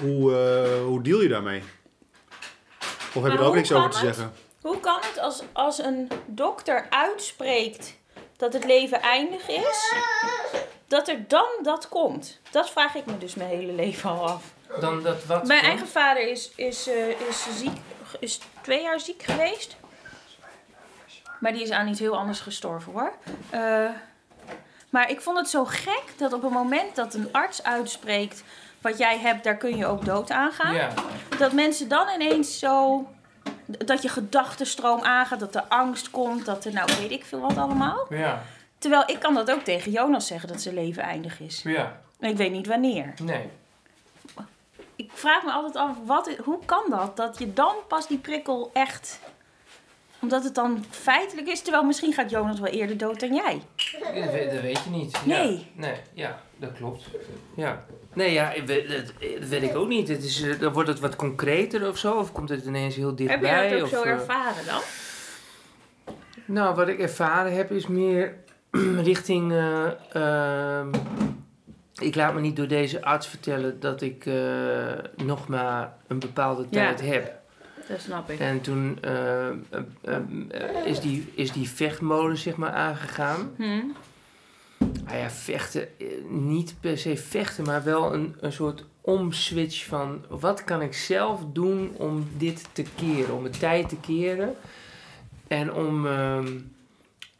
hoe, eh, hoe deal je daarmee? Of heb je Maar er ook hoe niks over kan te het? zeggen? Hoe kan het als, als een dokter uitspreekt dat het leven eindig is, dat er dan dat komt? Dat vraag ik me dus mijn hele leven al af. Dan dat wat. Mijn dan? eigen vader is, is, eh, is, ziek, is twee jaar ziek geweest. Maar die is aan iets heel anders gestorven hoor. Eh, maar ik vond het zo gek dat op het moment dat een arts uitspreekt wat jij hebt, daar kun je ook dood aan gaan Ja. dat mensen dan ineens zo. dat je gedachtenstroom aangaat, dat er angst komt, dat er nou weet ik veel wat allemaal. Ja. Terwijl ik kan dat ook tegen Jonas zeggen dat zijn leven eindig is. Ja. En ik weet niet wanneer. Nee. Ik vraag me altijd af, wat, hoe kan dat? Dat je dan pas die prikkel echt omdat het dan feitelijk is, terwijl misschien gaat Jonas wel eerder dood dan jij. Dat weet, dat weet je niet. Ja. Nee. Nee, ja, dat klopt. Ja. Nee, ja, ik weet- dat, dat weet ik ook niet. Het is, eh, dan wordt het wat concreter of zo, of komt het ineens heel Heb je dichtbij? dat ook of, zo eh, ervaren dan? Nou, wat ik ervaren heb is meer richting. eh, ehm, ik laat me niet door deze arts vertellen dat ik eh, nog maar een bepaalde tijd heb. Dat snap ik. En toen eh, eh, eh, eh, is, die, is die vechtmodus zeg maar aangegaan. Hm? Nou ja, vechten, eh, niet per se vechten, maar wel een, een soort omswitch van wat kan ik zelf doen om dit te keren, om het tijd te keren. En om, ehm,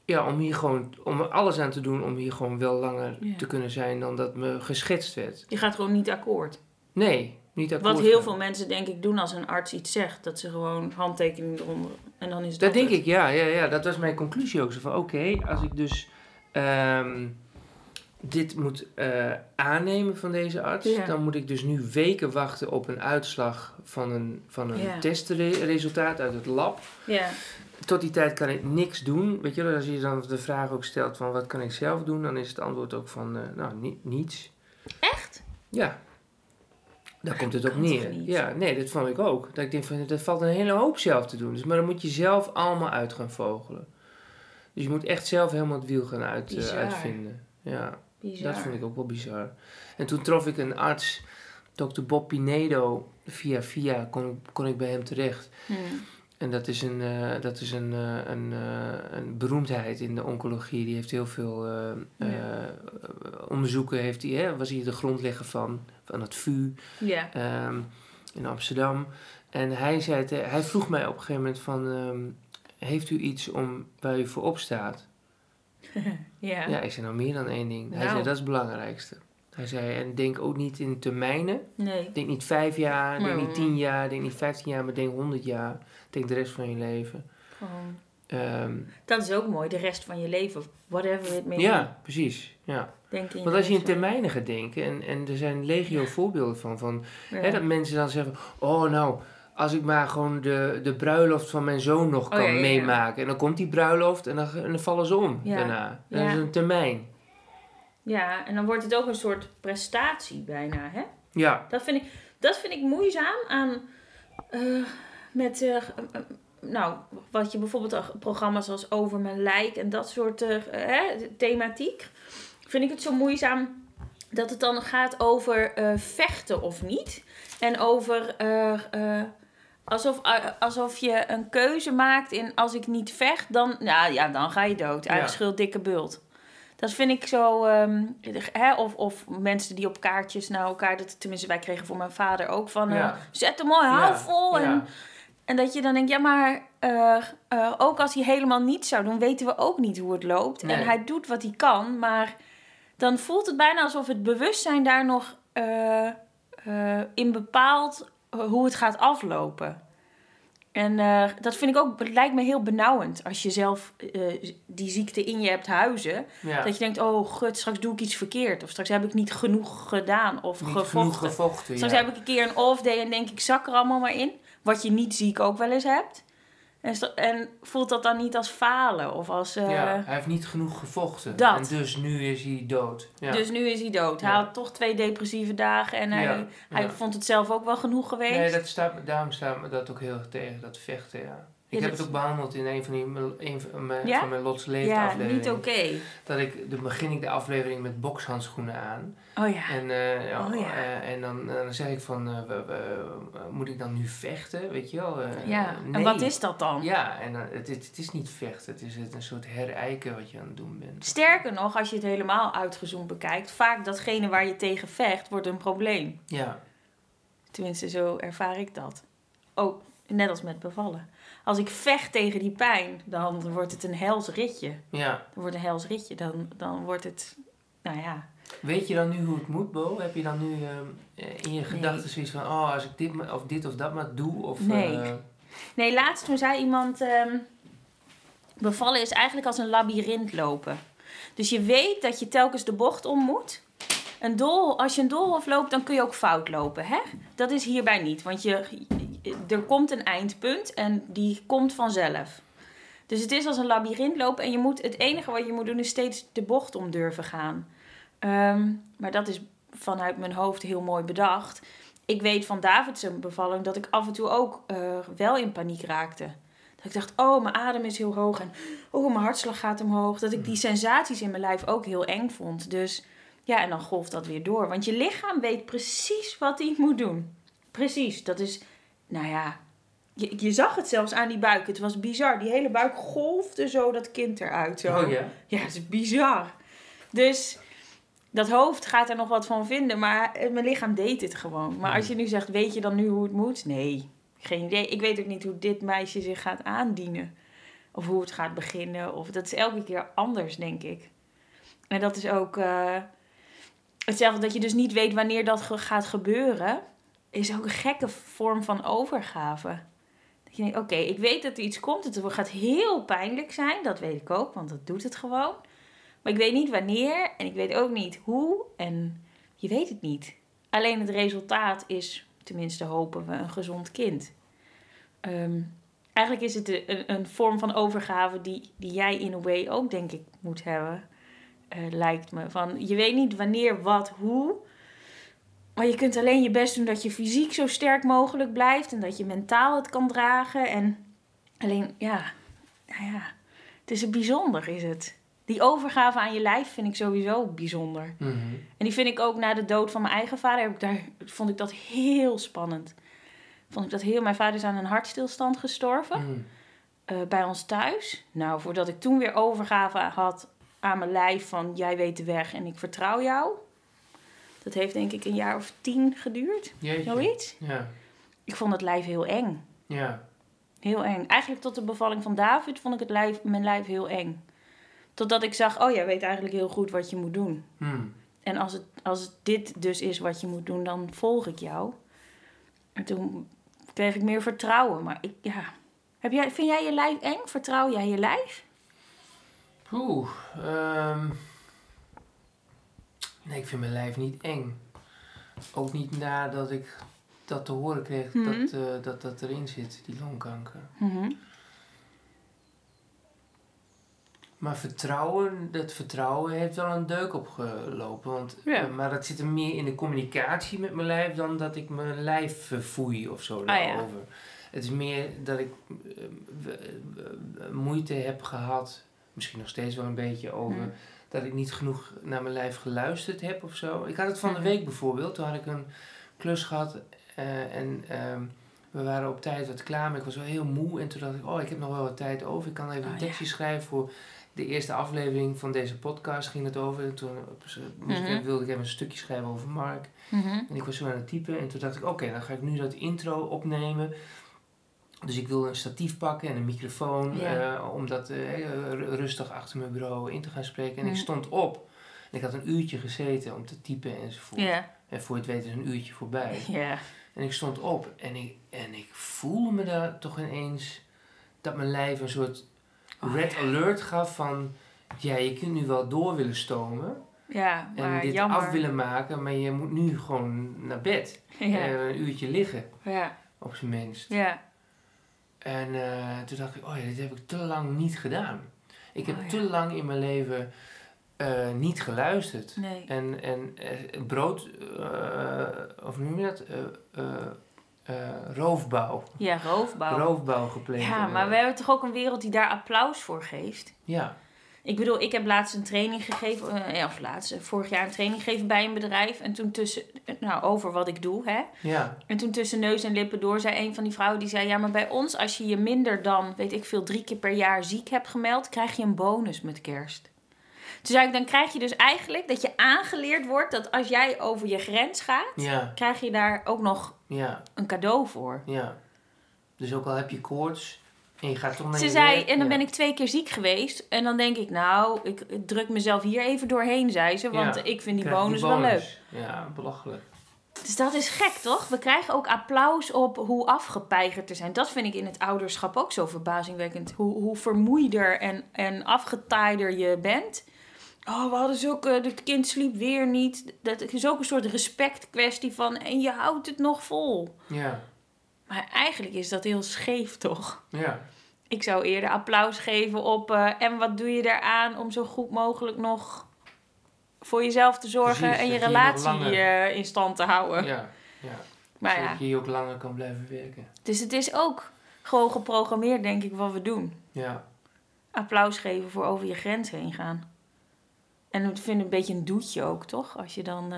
ja, om hier gewoon, om er alles aan te doen om hier gewoon wel langer Ja. te kunnen zijn dan dat me geschetst werd. Je gaat gewoon niet akkoord. Nee, niet akkoord. Wat heel gaan. veel mensen denk ik doen als een arts iets zegt. Dat ze gewoon handtekening eronder. En dan is het Dat denk het. ik, ja, ja, ja. Dat was mijn conclusie ook. Zo van, oké, als ik dus ehm, dit moet eh, aannemen van deze arts, Ja. dan moet ik dus nu weken wachten op een uitslag van een, van een Ja. testresultaat uit het lab. Ja. Tot die tijd kan ik niks doen. Weet je, wel, als je dan de vraag ook stelt van wat kan ik zelf doen, dan is het antwoord ook van eh, nou, ni- niets. Echt? Ja. Daar komt het op kan toch neer. niet? Ja, nee, dat vond ik ook. Dat ik denk van, dat valt een hele hoop zelf te doen. Dus, maar dan moet je zelf allemaal uit gaan vogelen. Dus je moet echt zelf helemaal het wiel gaan uit, eh, Bizar. uitvinden. Ja, Bizar. dat vond ik ook wel bizar. En toen trof ik een arts, dokter Bob Pinedo, via via kon, ik- kon ik bij hem terecht. Hm. En dat is een, eh, dat is een, eh, een, eh, een beroemdheid in de oncologie. Die heeft heel veel eh, Ja. eh, onderzoeken. Heeft hij, hè, was hij de grondlegger van, van het VU Ja. ehm, in Amsterdam. En hij, zei, te- hij vroeg mij op een gegeven moment van... ehm, heeft u iets om, waar u voor opstaat? Ja. Ja. ik zei nou meer dan één ding. Hij Nou. zei dat is het belangrijkste. Hij zei en denk ook niet in termijnen. Nee. Denk niet vijf jaar, denk Maar- niet tien jaar, denk niet vijftien jaar, maar denk honderd jaar. Denk de rest van je leven. Gewoon. Ehm, Dat is ook mooi. De rest van je leven. Whatever it may be. ja, precies. Ja. Denk in Want als je in rest van- termijnen gaat denken, en, en er zijn legio voorbeelden van, van Ja. hè, dat mensen dan zeggen: Oh, nou, als ik maar gewoon de, de bruiloft van mijn zoon nog kan Oh, ja, ja, ja. meemaken. En dan komt die bruiloft en dan, en dan vallen ze om Ja. daarna. Dat Ja. is een termijn. Ja, en dan wordt het ook een soort prestatie bijna, hè? Ja, Dat vind ik, dat vind ik moeizaam aan... eh, met, eh, eh, eh, nou, wat je bijvoorbeeld al- programma's als Over Mijn Lijk... en dat soort eh, hè, thematiek... vind ik het zo moeizaam dat het dan gaat over eh, vechten of niet. En over... eh, eh, Alsof, eh, alsof je een keuze maakt in als ik niet vecht, dan, nou, ja, dan ga je dood. Ja. Uitgeschild dikke bult. Dat vind ik zo. ehm, hè, of, of mensen die op kaartjes naar elkaar. Dat, tenminste, wij kregen voor mijn vader ook van. eh, Ja. zet hem mooi, hou ja, vol. En, ja. en dat je dan denkt, ja, maar eh, eh, ook als hij helemaal niets zou doen, weten we ook niet hoe het loopt. Nee. En hij doet wat hij kan, maar dan voelt het bijna alsof het bewustzijn daar nog eh, eh, in bepaalt eh, hoe het gaat aflopen. En eh, dat vind ik ook, het lijkt me heel benauwend als je zelf eh, die ziekte in je hebt huizen. ja. Dat je denkt, oh gut, straks doe ik iets verkeerd. Of straks heb ik niet genoeg gedaan of Niet genoeg gevochten. gevochten. Soms ja. heb ik een keer een off day en denk ik, zak er allemaal maar in. Wat je niet ziek ook wel eens hebt. En, sto- en voelt dat dan niet als falen of als... eh, ja, hij heeft niet genoeg gevochten. dat. En dus nu is hij dood. Ja. Dus nu is hij dood. Hij Ja. had toch twee depressieve dagen en hij, Ja, hij ja. vond het zelf ook wel genoeg geweest. Nee, dat staat, me- daarom staat me dat ook heel erg tegen, dat vechten, ja. Ik Ja, heb dat- het ook behandeld in een van, die, een van mijn, Ja? van mijn Lots Leeft ja, afleveringen. niet oké. Dat ik, dan begin ik de aflevering met bokshandschoenen aan. Oh ja. En, eh, ja, Oh, ja. eh, en dan, dan zeg ik van, eh, we- we- eh, moet ik dan nu vechten, weet je wel? Eh, ja. nee. En wat is dat dan? Ja, en dan- het, het, het is niet vechten, het is het een soort herijken wat je aan het doen bent. Sterker nog, als je het helemaal uitgezoomd bekijkt, vaak datgene waar je tegen vecht, wordt een probleem. Ja, Tenminste, zo ervaar ik dat. Ook net als met bevallen. Als ik vecht tegen die pijn, dan wordt het een hels ritje. ja. Dan wordt een hels ritje. Dan, dan wordt het, nou ja. Weet je dan nu hoe het moet, Bo? Heb je dan nu eh, in je gedachten zoiets van, oh, als ik dit, maar- of dit of dat maar doe? Of, Nee. eh, Nee, laatst toen zei iemand, ehm, bevallen is eigenlijk als een labyrint lopen. Dus je weet dat je telkens de bocht om moet. Een dool, als je een doolhof loopt, dan kun je ook fout lopen, hè? Dat is hierbij niet, want je, er komt een eindpunt en die komt vanzelf. Dus het is als een labyrint lopen en je moet, het enige wat je moet doen is steeds de bocht om durven gaan. Ehm, maar dat is vanuit mijn hoofd heel mooi bedacht. Ik weet van David zijn bevalling dat ik af en toe ook eh, wel in paniek raakte. Dat ik dacht, oh, mijn adem is heel hoog en oh, mijn hartslag gaat omhoog. Dat ik die sensaties in mijn lijf ook heel eng vond. Dus ja, en dan golft dat weer door. Want je lichaam weet precies wat hij moet doen. Precies, dat is, nou ja, je, je zag het zelfs aan die buik. Het was bizar. Die hele buik golfde zo dat kind eruit. Zo. Oh ja? Ja, het is bizar. Dus dat hoofd gaat er nog wat van vinden, maar eh, mijn lichaam deed het gewoon. Maar als je nu zegt, weet je dan nu hoe het moet? Nee, geen idee. Ik weet ook niet hoe dit meisje zich gaat aandienen. Of hoe het gaat beginnen. Of dat is elke keer anders, denk ik. En dat is ook eh, hetzelfde dat je dus niet weet wanneer dat ge- gaat gebeuren. Is ook een gekke vorm van overgave. Dat je denkt, oké, ik weet dat er iets komt. Het gaat heel pijnlijk zijn. Dat weet ik ook, want dat doet het gewoon. Maar ik weet niet wanneer en ik weet ook niet hoe en je weet het niet. Alleen het resultaat is, tenminste hopen we, een gezond kind. Ehm, eigenlijk is het de- een, een vorm van overgave die, die jij in a way ook denk ik moet hebben. Eh, lijkt me. Van, je weet niet wanneer, wat, hoe. Maar je kunt alleen je best doen dat je fysiek zo sterk mogelijk blijft. En dat je mentaal het kan dragen. En alleen, ja, nou ja. Het is een bijzonder, is het. Die overgave aan je lijf vind ik sowieso bijzonder. Mhm. En die vind ik ook na de dood van mijn eigen vader, heb ik daar, vond ik dat heel spannend. Vond ik dat heel, mijn vader is aan een hartstilstand gestorven Mhm. eh, bij ons thuis. Nou, voordat ik toen weer overgave had aan mijn lijf van jij weet de weg en ik vertrouw jou. Dat heeft denk ik een jaar of tien geduurd, Jeetje. zoiets. Ja, Ik vond het lijf heel eng. ja. Heel eng. Eigenlijk tot de bevalling van David vond ik het lijf, mijn lijf heel eng. Totdat ik zag, oh jij weet eigenlijk heel goed wat je moet doen. Mhm. En als, het, als het dit dus is wat je moet doen, dan volg ik jou. En toen kreeg ik meer vertrouwen. Maar ik, ja. Heb jij, vind jij je lijf eng? Vertrouw jij je lijf? Oeh. ehm. nee, ik vind mijn lijf niet eng. Ook niet nadat ik dat te horen kreeg Mhm. dat, eh, dat dat erin zit, die longkanker. Maar vertrouwen, dat vertrouwen heeft wel een deuk opgelopen. Want, Ja. eh, maar dat zit er meer in de communicatie met mijn lijf dan dat ik mijn lijf eh, voei of zo Ah, ja. daarover. Het is meer dat ik eh, w- w- moeite heb gehad, misschien nog steeds wel een beetje over, Mm. dat ik niet genoeg naar mijn lijf geluisterd heb of zo. Ik had het van de Hmm. week bijvoorbeeld, toen had ik een klus gehad eh, en ehm, we waren op tijd wat klaar, maar ik was wel heel moe. En toen dacht ik, oh, ik heb nog wel wat tijd over. Ik kan even Oh, een ja. tekstje schrijven voor de eerste aflevering van deze podcast. Ging het over. En toen eh, moest ik- Mhm. wilde ik even een stukje schrijven over Mark. En ik was zo aan het typen. En toen dacht ik, oké, dan ga ik nu dat intro opnemen. Dus ik wilde een statief pakken en een microfoon. Ja. eh, om dat eh, heel ru- rustig achter mijn bureau in te gaan spreken. En ik Mhm. stond op. En ik had een uurtje gezeten om te typen enzovoort. Ja. En voor je het weet is een uurtje voorbij. Ja. En ik stond op en ik, en ik voelde me daar toch ineens dat mijn lijf een soort Oh, red alert gaf van... Ja, je kunt nu wel door willen stomen Ja, en maar dit jammer. af willen maken, maar je moet nu gewoon naar bed. Ja. En een uurtje liggen, Ja. op zijn minst. Ja. En eh, toen dacht ik, oh ja, dit heb ik te lang niet gedaan. Ik heb Oh ja. te lang in mijn leven eh, niet geluisterd. Nee. En, en eh, brood, eh, of hoe noem je dat? Eh, eh, eh, roofbouw. Ja, roofbouw. Roofbouw gepleegd. ja, maar we hebben toch ook een wereld die daar applaus voor geeft. Ja. Ik bedoel, ik heb laatst een training gegeven, eh, ja, of laatst, eh, vorig jaar een training gegeven bij een bedrijf. En toen tussen, eh, nou, over wat ik doe, hè. Ja. En toen tussen neus en lippen door zei een van die vrouwen, die zei... Ja, maar bij ons, als je je minder dan, weet ik veel, drie keer per jaar ziek hebt gemeld... krijg je een bonus met kerst. Toen zei ik, dan krijg je dus eigenlijk dat je aangeleerd wordt... dat als jij over je grens gaat, Ja. krijg je daar ook nog Ja. een cadeau voor. Ja. Dus ook al heb je koorts en je gaat toch naar Ze je zei, werk, en dan ja. ben ik twee keer ziek geweest. En dan denk ik, nou, ik druk mezelf hier even doorheen, zei ze. Want Ja, ik vind die Krijg je bonus, wel leuk. wel leuk. Ja, belachelijk. Dus dat is gek, toch? We krijgen ook applaus op hoe afgepeigerd te zijn. Dat vind ik in het ouderschap ook zo verbazingwekkend. Hoe, hoe vermoeider en, en afgetaider je bent. Oh, we hadden zulke... Het kind sliep weer niet. Dat is ook een soort respectkwestie van... En je houdt het nog vol. Ja. Maar eigenlijk is dat heel scheef, toch? Ja. Ik zou eerder applaus geven op. eh, en wat doe je daaraan om zo goed mogelijk nog voor jezelf te zorgen Precies, en je dat je relatie nog langer- eh, in stand te houden? Ja. Ja. maar Zodat ja, je hier ook langer kan blijven werken. dus het is ook gewoon geprogrammeerd, denk ik, wat we doen. Ja. Applaus geven voor over je grens heen gaan. En ik vind het een beetje een doetje ook, toch? Als je dan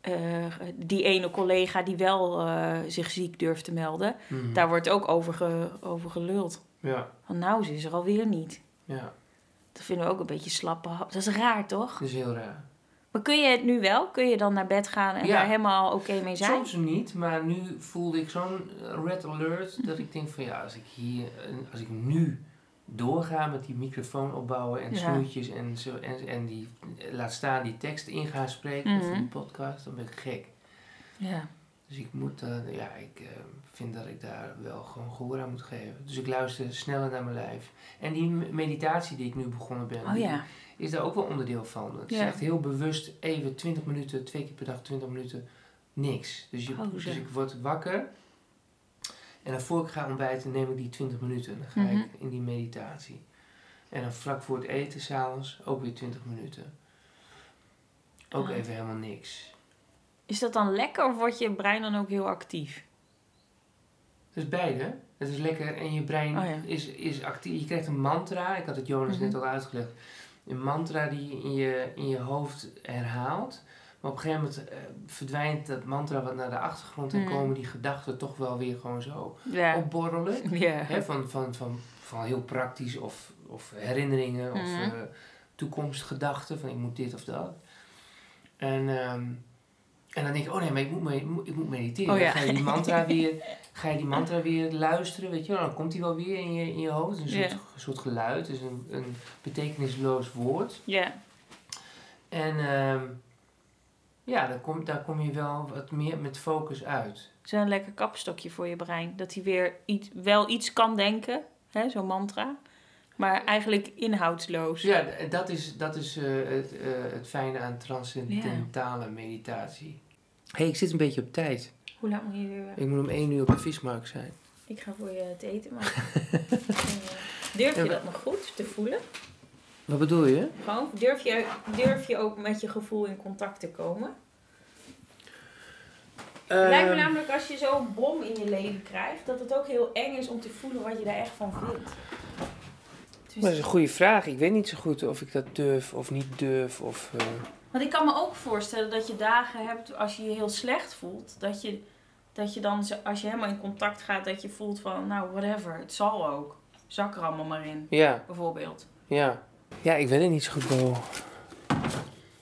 eh, eh, die ene collega die wel eh, zich ziek durft te melden, Mhm. daar wordt ook over, ge- over geluld. Ja. Van nou, ze is er alweer niet. Ja. Dat vinden we ook een beetje slappe hap. Dat is raar, toch? Dat is heel raar. Maar kun je het nu wel? Kun je dan naar bed gaan en Ja. daar helemaal oké mee zijn? Soms niet, maar nu voelde ik zo'n red alert dat ik denk van ja, als ik hier, eh, als ik nu doorga met die microfoon opbouwen en Ja. snoetjes en, zo, en, en die, eh, laat staan die tekst in gaan spreken Mhm. of in die podcast, dan ben ik gek. Ja. Dus ik moet, eh, ja, ik eh, vind dat ik daar wel gewoon gehoor aan moet geven. Dus ik luister sneller naar mijn lijf. En die meditatie die ik nu begonnen ben, Oh die- ja. is daar ook wel onderdeel van. Het is Ja. echt heel bewust even 20 minuten, twee keer per dag 20 minuten, niks. Dus, je, Pauze. dus ik word wakker en dan voor ik ga ontbijten neem ik die 20 minuten. Dan ga Mhm. ik in die meditatie. En dan vlak voor het eten s'avonds ook weer 20 minuten. Ook Ah. even helemaal niks. Is dat dan lekker of wordt je brein dan ook heel actief? Dus beide. Het is lekker en je brein Oh ja. is, is actief. Je krijgt een mantra. Ik had het Jonas Mhm. net al uitgelegd. Een mantra die je in je, in je hoofd herhaalt. Maar op een gegeven moment eh, verdwijnt dat mantra wat naar de achtergrond. En Mm. komen die gedachten toch wel weer gewoon zo Ja. opborrelen. Ja. Hè, van, van, van, van heel praktisch of, of herinneringen of Mhm. eh, toekomstgedachten van ik moet dit of dat. En, ehm, en dan denk je, oh nee, maar ik moet, me- ik moet, ik moet mediteren. Oh ja. Dan ga je die mantra weer, ga je die mantra weer luisteren, weet je wel. Dan komt die wel weer in je, in je hoofd. Het is Een soort, Ja. een soort geluid, het is een, een betekenisloos woord. Ja. En ehm, ja, daar kom, daar kom je wel wat meer met focus uit. Het is een lekker kapstokje voor je brein. Dat hij weer iets, wel iets kan denken, hè, zo'n mantra. Maar eigenlijk inhoudsloos. Dus ja, d- dat is, dat is eh, het, eh, het fijne aan transcendentale meditatie. Hé, hey, ik zit een beetje op tijd. Hoe laat moet je weer weg? Ik moet om één uur op de vismarkt zijn. Ik ga voor je het eten maken. Eh, durf je dat nog goed te voelen? Wat bedoel je? Gewoon, durf je, durf je ook met je gevoel in contact te komen? Lijkt me Ehm, namelijk als je zo'n bom in je leven krijgt, dat het ook heel eng is om te voelen wat je daar echt van vindt. Dus- dat is een goede vraag. Ik weet niet zo goed of ik dat durf of niet durf. Of, eh, want ik kan me ook voorstellen dat je dagen hebt als je je heel slecht voelt, dat je, dat je dan, zo- als je helemaal in contact gaat, dat je voelt van, nou whatever, het zal ook. Zak er allemaal maar in, Ja, bijvoorbeeld. ja. Ja, ik weet het niet zo goed wel.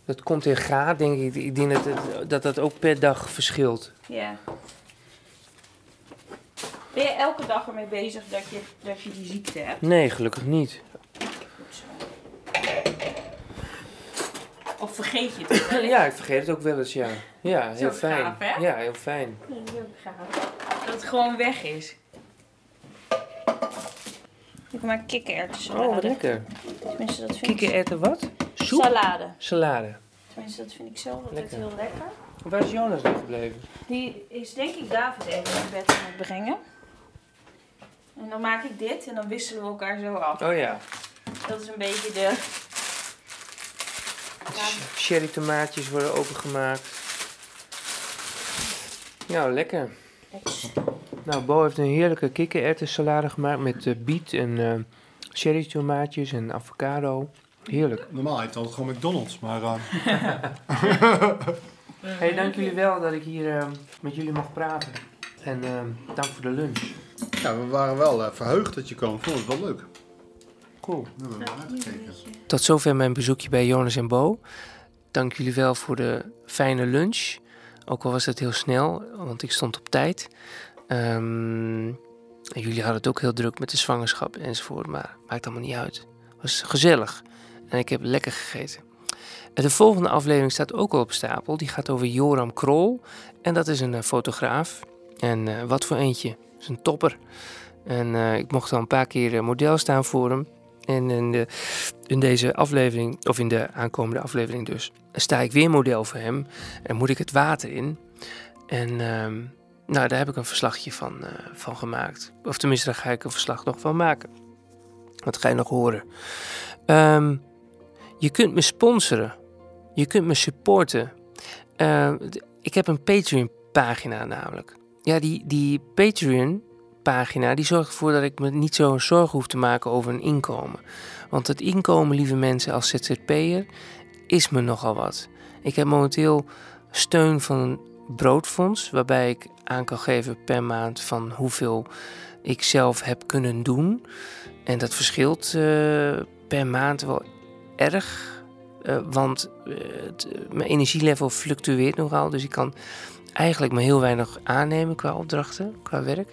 Dat komt in graad, denk ik. Ik denk dat het- dat, dat ook per dag verschilt. Ja. Ben je elke dag ermee bezig dat je, dat je die ziekte hebt? Nee, gelukkig niet. Goed zo. Of vergeet je het? ook wel eens? Ja, ik vergeet het ook wel eens, ja. Ja, heel ook fijn. gaaf, hè? Ja, heel fijn. Ja, dat is ook gaaf. Dat het gewoon weg is. Ik maak kikkererwtensalade. Oh, wat lekker. Tenminste, dat vind ik... Kikkererwten wat? Soep? Salade. Salade. Tenminste, dat vind ik zelf altijd Lekker. heel lekker. Waar is Jonas nog gebleven? Die is denk ik David even naar bed aan het brengen. En dan maak ik dit en dan wisselen we elkaar zo af. Oh ja, Dat is een beetje de... Sh- cherry tomaatjes worden opengemaakt. Nou, lekker. Nou, Bo heeft een heerlijke kikkererwtensalade gemaakt met eh, biet en eh cherry tomaatjes en avocado. Heerlijk. Normaal heet het altijd gewoon McDonald's, maar eh, Eh, Hey, dank jullie wel dat ik hier eh, met jullie mag praten. En eh, dank voor de lunch. ja, we waren wel eh, verheugd dat je kwam. Ik vond het wel leuk. Cool. We hebben hem uitgekeken. Tot zover mijn bezoekje bij Jonas en Bo. Dank jullie wel voor de fijne lunch. Ook al was dat heel snel, want ik stond op tijd. Ehm, en jullie hadden het ook heel druk met de zwangerschap enzovoort, maar maakt allemaal niet uit. Het was gezellig en ik heb lekker gegeten. En De volgende aflevering staat ook al op stapel. Die gaat over Joram Krol. En dat is een eh, fotograaf. En eh, wat voor eentje. Dat is een topper. En eh, ik mocht al een paar keer eh, model staan voor hem. En in de in deze aflevering, of in de aankomende aflevering dus, sta ik weer model voor hem en moet ik het water in. En ehm, nou, daar heb ik een verslagje van, eh, van gemaakt. Of tenminste, daar ga ik een verslag nog van maken. Dat ga je nog horen. Ehm, je kunt me sponsoren. Je kunt me supporten. Ehm, d- ik heb een Patreon-pagina namelijk. Ja, die, die Patreon-pagina die zorgt ervoor dat ik me niet zo'n zorgen hoef te maken over een inkomen. Want het inkomen, lieve mensen, als ZZP'er is me nogal wat. Ik heb momenteel steun van een broodfonds, waarbij ik aan kan geven per maand van hoeveel ik zelf heb kunnen doen. En dat verschilt eh, per maand wel erg, eh, want eh, het- mijn energielevel fluctueert nogal. Dus ik kan eigenlijk maar heel weinig aannemen qua opdrachten, qua werk.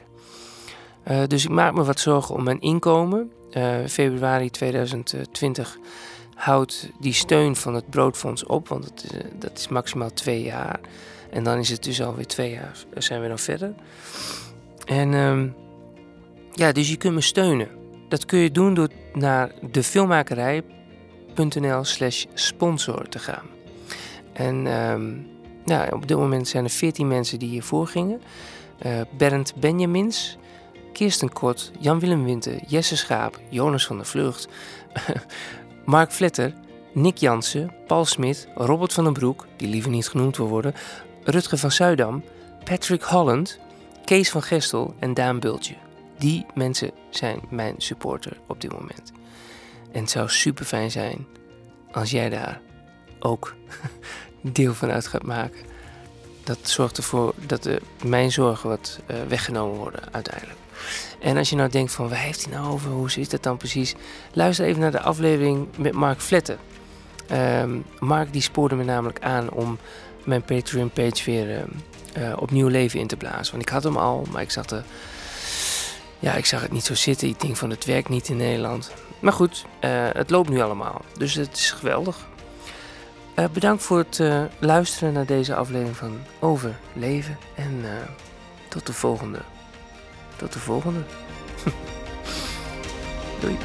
Eh, dus ik maak me wat zorgen om mijn inkomen. Eh, februari 2020 houdt die steun van het broodfonds op, want het is, eh, dat is maximaal twee jaar. En dan is het dus alweer twee jaar, eh, zijn we dan verder. En ehm, ja, dus je kunt me steunen. Dat kun je doen door naar defilmmakerij.nl nl slash sponsor te gaan. En ehm, nou, op dit moment zijn er 14 mensen die hiervoor gingen. Eh Bernd Benjamins, Kirsten Kort, Jan-Willem Winter, Jesse Schaap, Jonas van der Vlucht, Mark Vletter, Nick Jansen, Paul Smit, Robert van den Broek, die liever niet genoemd wil worden, Rutger van Zuidam, Patrick Holland, Kees van Gestel en Daan Bultje. Die mensen zijn mijn supporter op dit moment. En het zou super fijn zijn als jij daar ook deel van uit gaat maken. Dat zorgt ervoor dat eh, mijn zorgen wat eh, weggenomen worden uiteindelijk. En als je nou denkt van waar heeft hij nou over, hoe zit dat dan precies? Luister even naar de aflevering met Mark Vletten. Ehm, Mark die spoorde me namelijk aan om mijn Patreon page weer eh, eh, opnieuw leven in te blazen. Want ik had hem al, maar ik zag, de, ja, ik zag het niet zo zitten. Ik denk van het werkt niet in Nederland. Maar goed, eh, het loopt nu allemaal. Dus het is geweldig. Eh, bedankt voor het eh, luisteren naar deze aflevering van Overleven. En eh, tot de volgende. Tot de volgende. Doei.